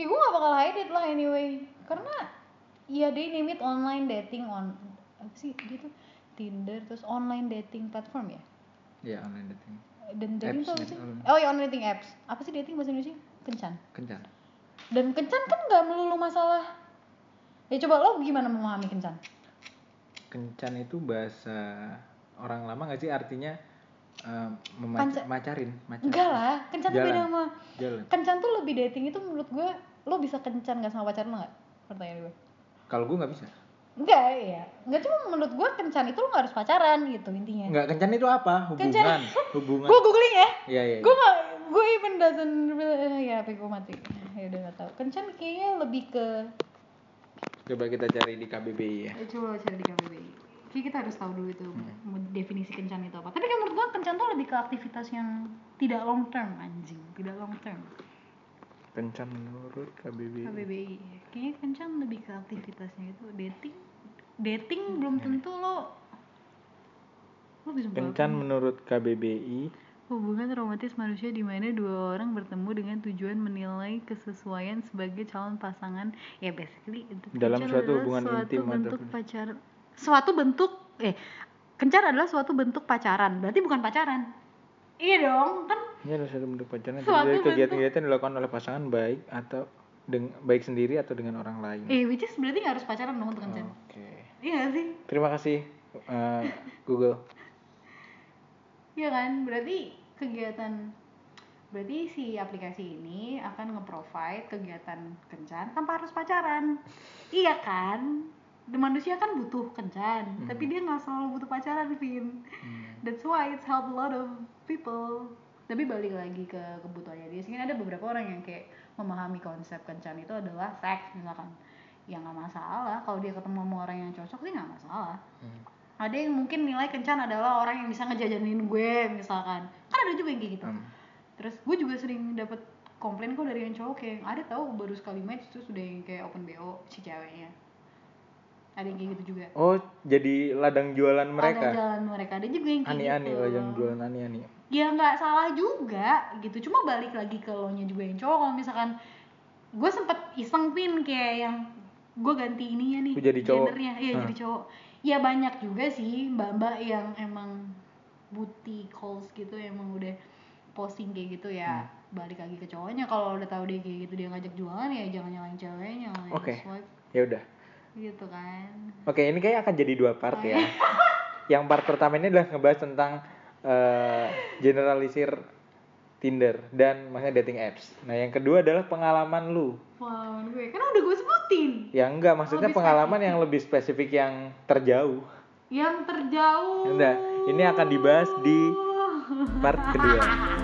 S2: ya gue gak bakal hide it lah anyway karena ya they name it online dating on apa sih dia tuh Tinder terus online dating platform ya
S1: ya online dating
S2: dan
S1: Apps
S2: dating tuh apa
S1: gitu,
S2: sih?
S1: online.
S2: Oh ya online dating apps. Apa sih dating bahasa Indonesia? Kencan.
S1: kencan
S2: Dan kencan kan nggak melulu masalah. Ya coba lo gimana memahami kencan?
S1: kencan itu bahasa orang lama nggak sih artinya eh,
S2: Kanca-
S1: memac- macarin macarin
S2: Enggak lah, kencan tuh beda
S1: Jalan.
S2: sama
S1: jalan
S2: kencan tuh lebih dating itu menurut gue lo bisa kencan gak sama pacar lo nggak? Pertanyaan gue.
S1: kalau gue nggak bisa
S2: Enggak ya, enggak cuma menurut gue kencan itu lo gak harus pacaran gitu intinya.
S1: nggak kencan itu apa hubungan
S2: Kencan. (laughs)
S1: hubungan
S2: Gue googling ya.
S1: Iya, iya,
S2: Gue gak, gue even doesn't really- ya apa gue mati. Ya udah gak tau. Kencan kayaknya lebih ke
S1: coba kita cari di KBBI ya
S2: Ya, coba cari di KBBI. Jadi kita harus tahu dulu itu mau definisi kencan itu apa. Tapi kan menurut gua kencan tuh lebih ke aktivitas yang tidak long term anjing, tidak long term.
S1: kencan menurut KBBI
S2: KBBI. Kayaknya kencan lebih ke aktivitasnya itu dating. Dating belum tentu lo lo bisa
S1: kencan menurut KBBI
S2: Hubungan romantis manusia di mana dua orang bertemu dengan tujuan menilai kesesuaian sebagai calon pasangan. Ya basically itu
S1: Dalam
S2: kencan
S1: suatu
S2: adalah
S1: hubungan
S2: suatu
S1: intim atau
S2: bentuk
S1: pen-
S2: pacar suatu bentuk eh kencan adalah suatu bentuk pacaran. Berarti bukan pacaran. Iya dong, kan
S1: ini adalah satu bentuk pacaran yang
S2: Suatu
S1: terdiri dari
S2: bentuk-
S1: kegiatan-kegiatan yang dilakukan oleh pasangan baik atau deng- baik sendiri atau dengan orang lain
S2: eh which is berarti nggak harus pacaran dong untuk kencan.
S1: oke
S2: Iya nggak sih?
S1: terima kasih eh, Google
S2: Iya kan? Berarti kegiatan berarti si aplikasi ini akan nge-provide kegiatan kencan tanpa harus pacaran. iya kan? The manusia kan butuh kencan, tapi dia nggak selalu butuh pacaran, Vin. That's why it's helped a lot of people. Tapi balik lagi ke kebutuhannya dia. Sehingga ada beberapa orang yang kayak memahami konsep kencan itu adalah seks misalkan. Ya nggak masalah. Kalau dia ketemu sama orang yang cocok sih nggak masalah.
S1: Hmm.
S2: Ada yang mungkin nilai kencan adalah orang yang bisa ngejajanin gue misalkan. Kan ada juga yang kayak gitu.
S1: Hmm.
S2: Terus gue juga sering dapet komplain kok dari yang cowok kayak ada tahu baru sekali match terus udah yang kayak open bo si ceweknya. Ada yang kayak gitu juga.
S1: oh jadi ladang jualan
S2: Ada
S1: mereka
S2: jalan mereka ada juga yang kayak
S1: ani-ani
S2: gitu
S1: ladang jualan ani-ani
S2: ya nggak salah juga gitu cuma balik lagi ke lo nya juga yang cowok kalau misalkan gue sempet iseng pin kayak yang gue ganti ininya nih
S1: Lu jadi cowok.
S2: gendernya iya
S1: Hah.
S2: jadi cowok ya banyak juga sih mbak mbak yang emang buti calls gitu emang udah posting kayak gitu ya
S1: Hmm.
S2: balik lagi ke cowoknya kalau udah tahu dia kayak gitu dia ngajak jualan ya jangan nyalain ceweknya nyalain
S1: Oke.
S2: swipe
S1: ya udah
S2: gitu kan
S1: Oke, ini kayak akan jadi dua part ya. (laughs) Yang part pertama ini adalah ngebahas tentang eh, generalisir Tinder dan maksudnya dating apps. Nah, yang kedua adalah pengalaman lu.
S2: pengalaman gue karena udah gue sebutin
S1: Ya enggak, maksudnya
S2: Lebih
S1: pengalaman yang lebih spesifik yang terjauh.
S2: yang terjauh
S1: Enggak, ini akan dibahas di part kedua.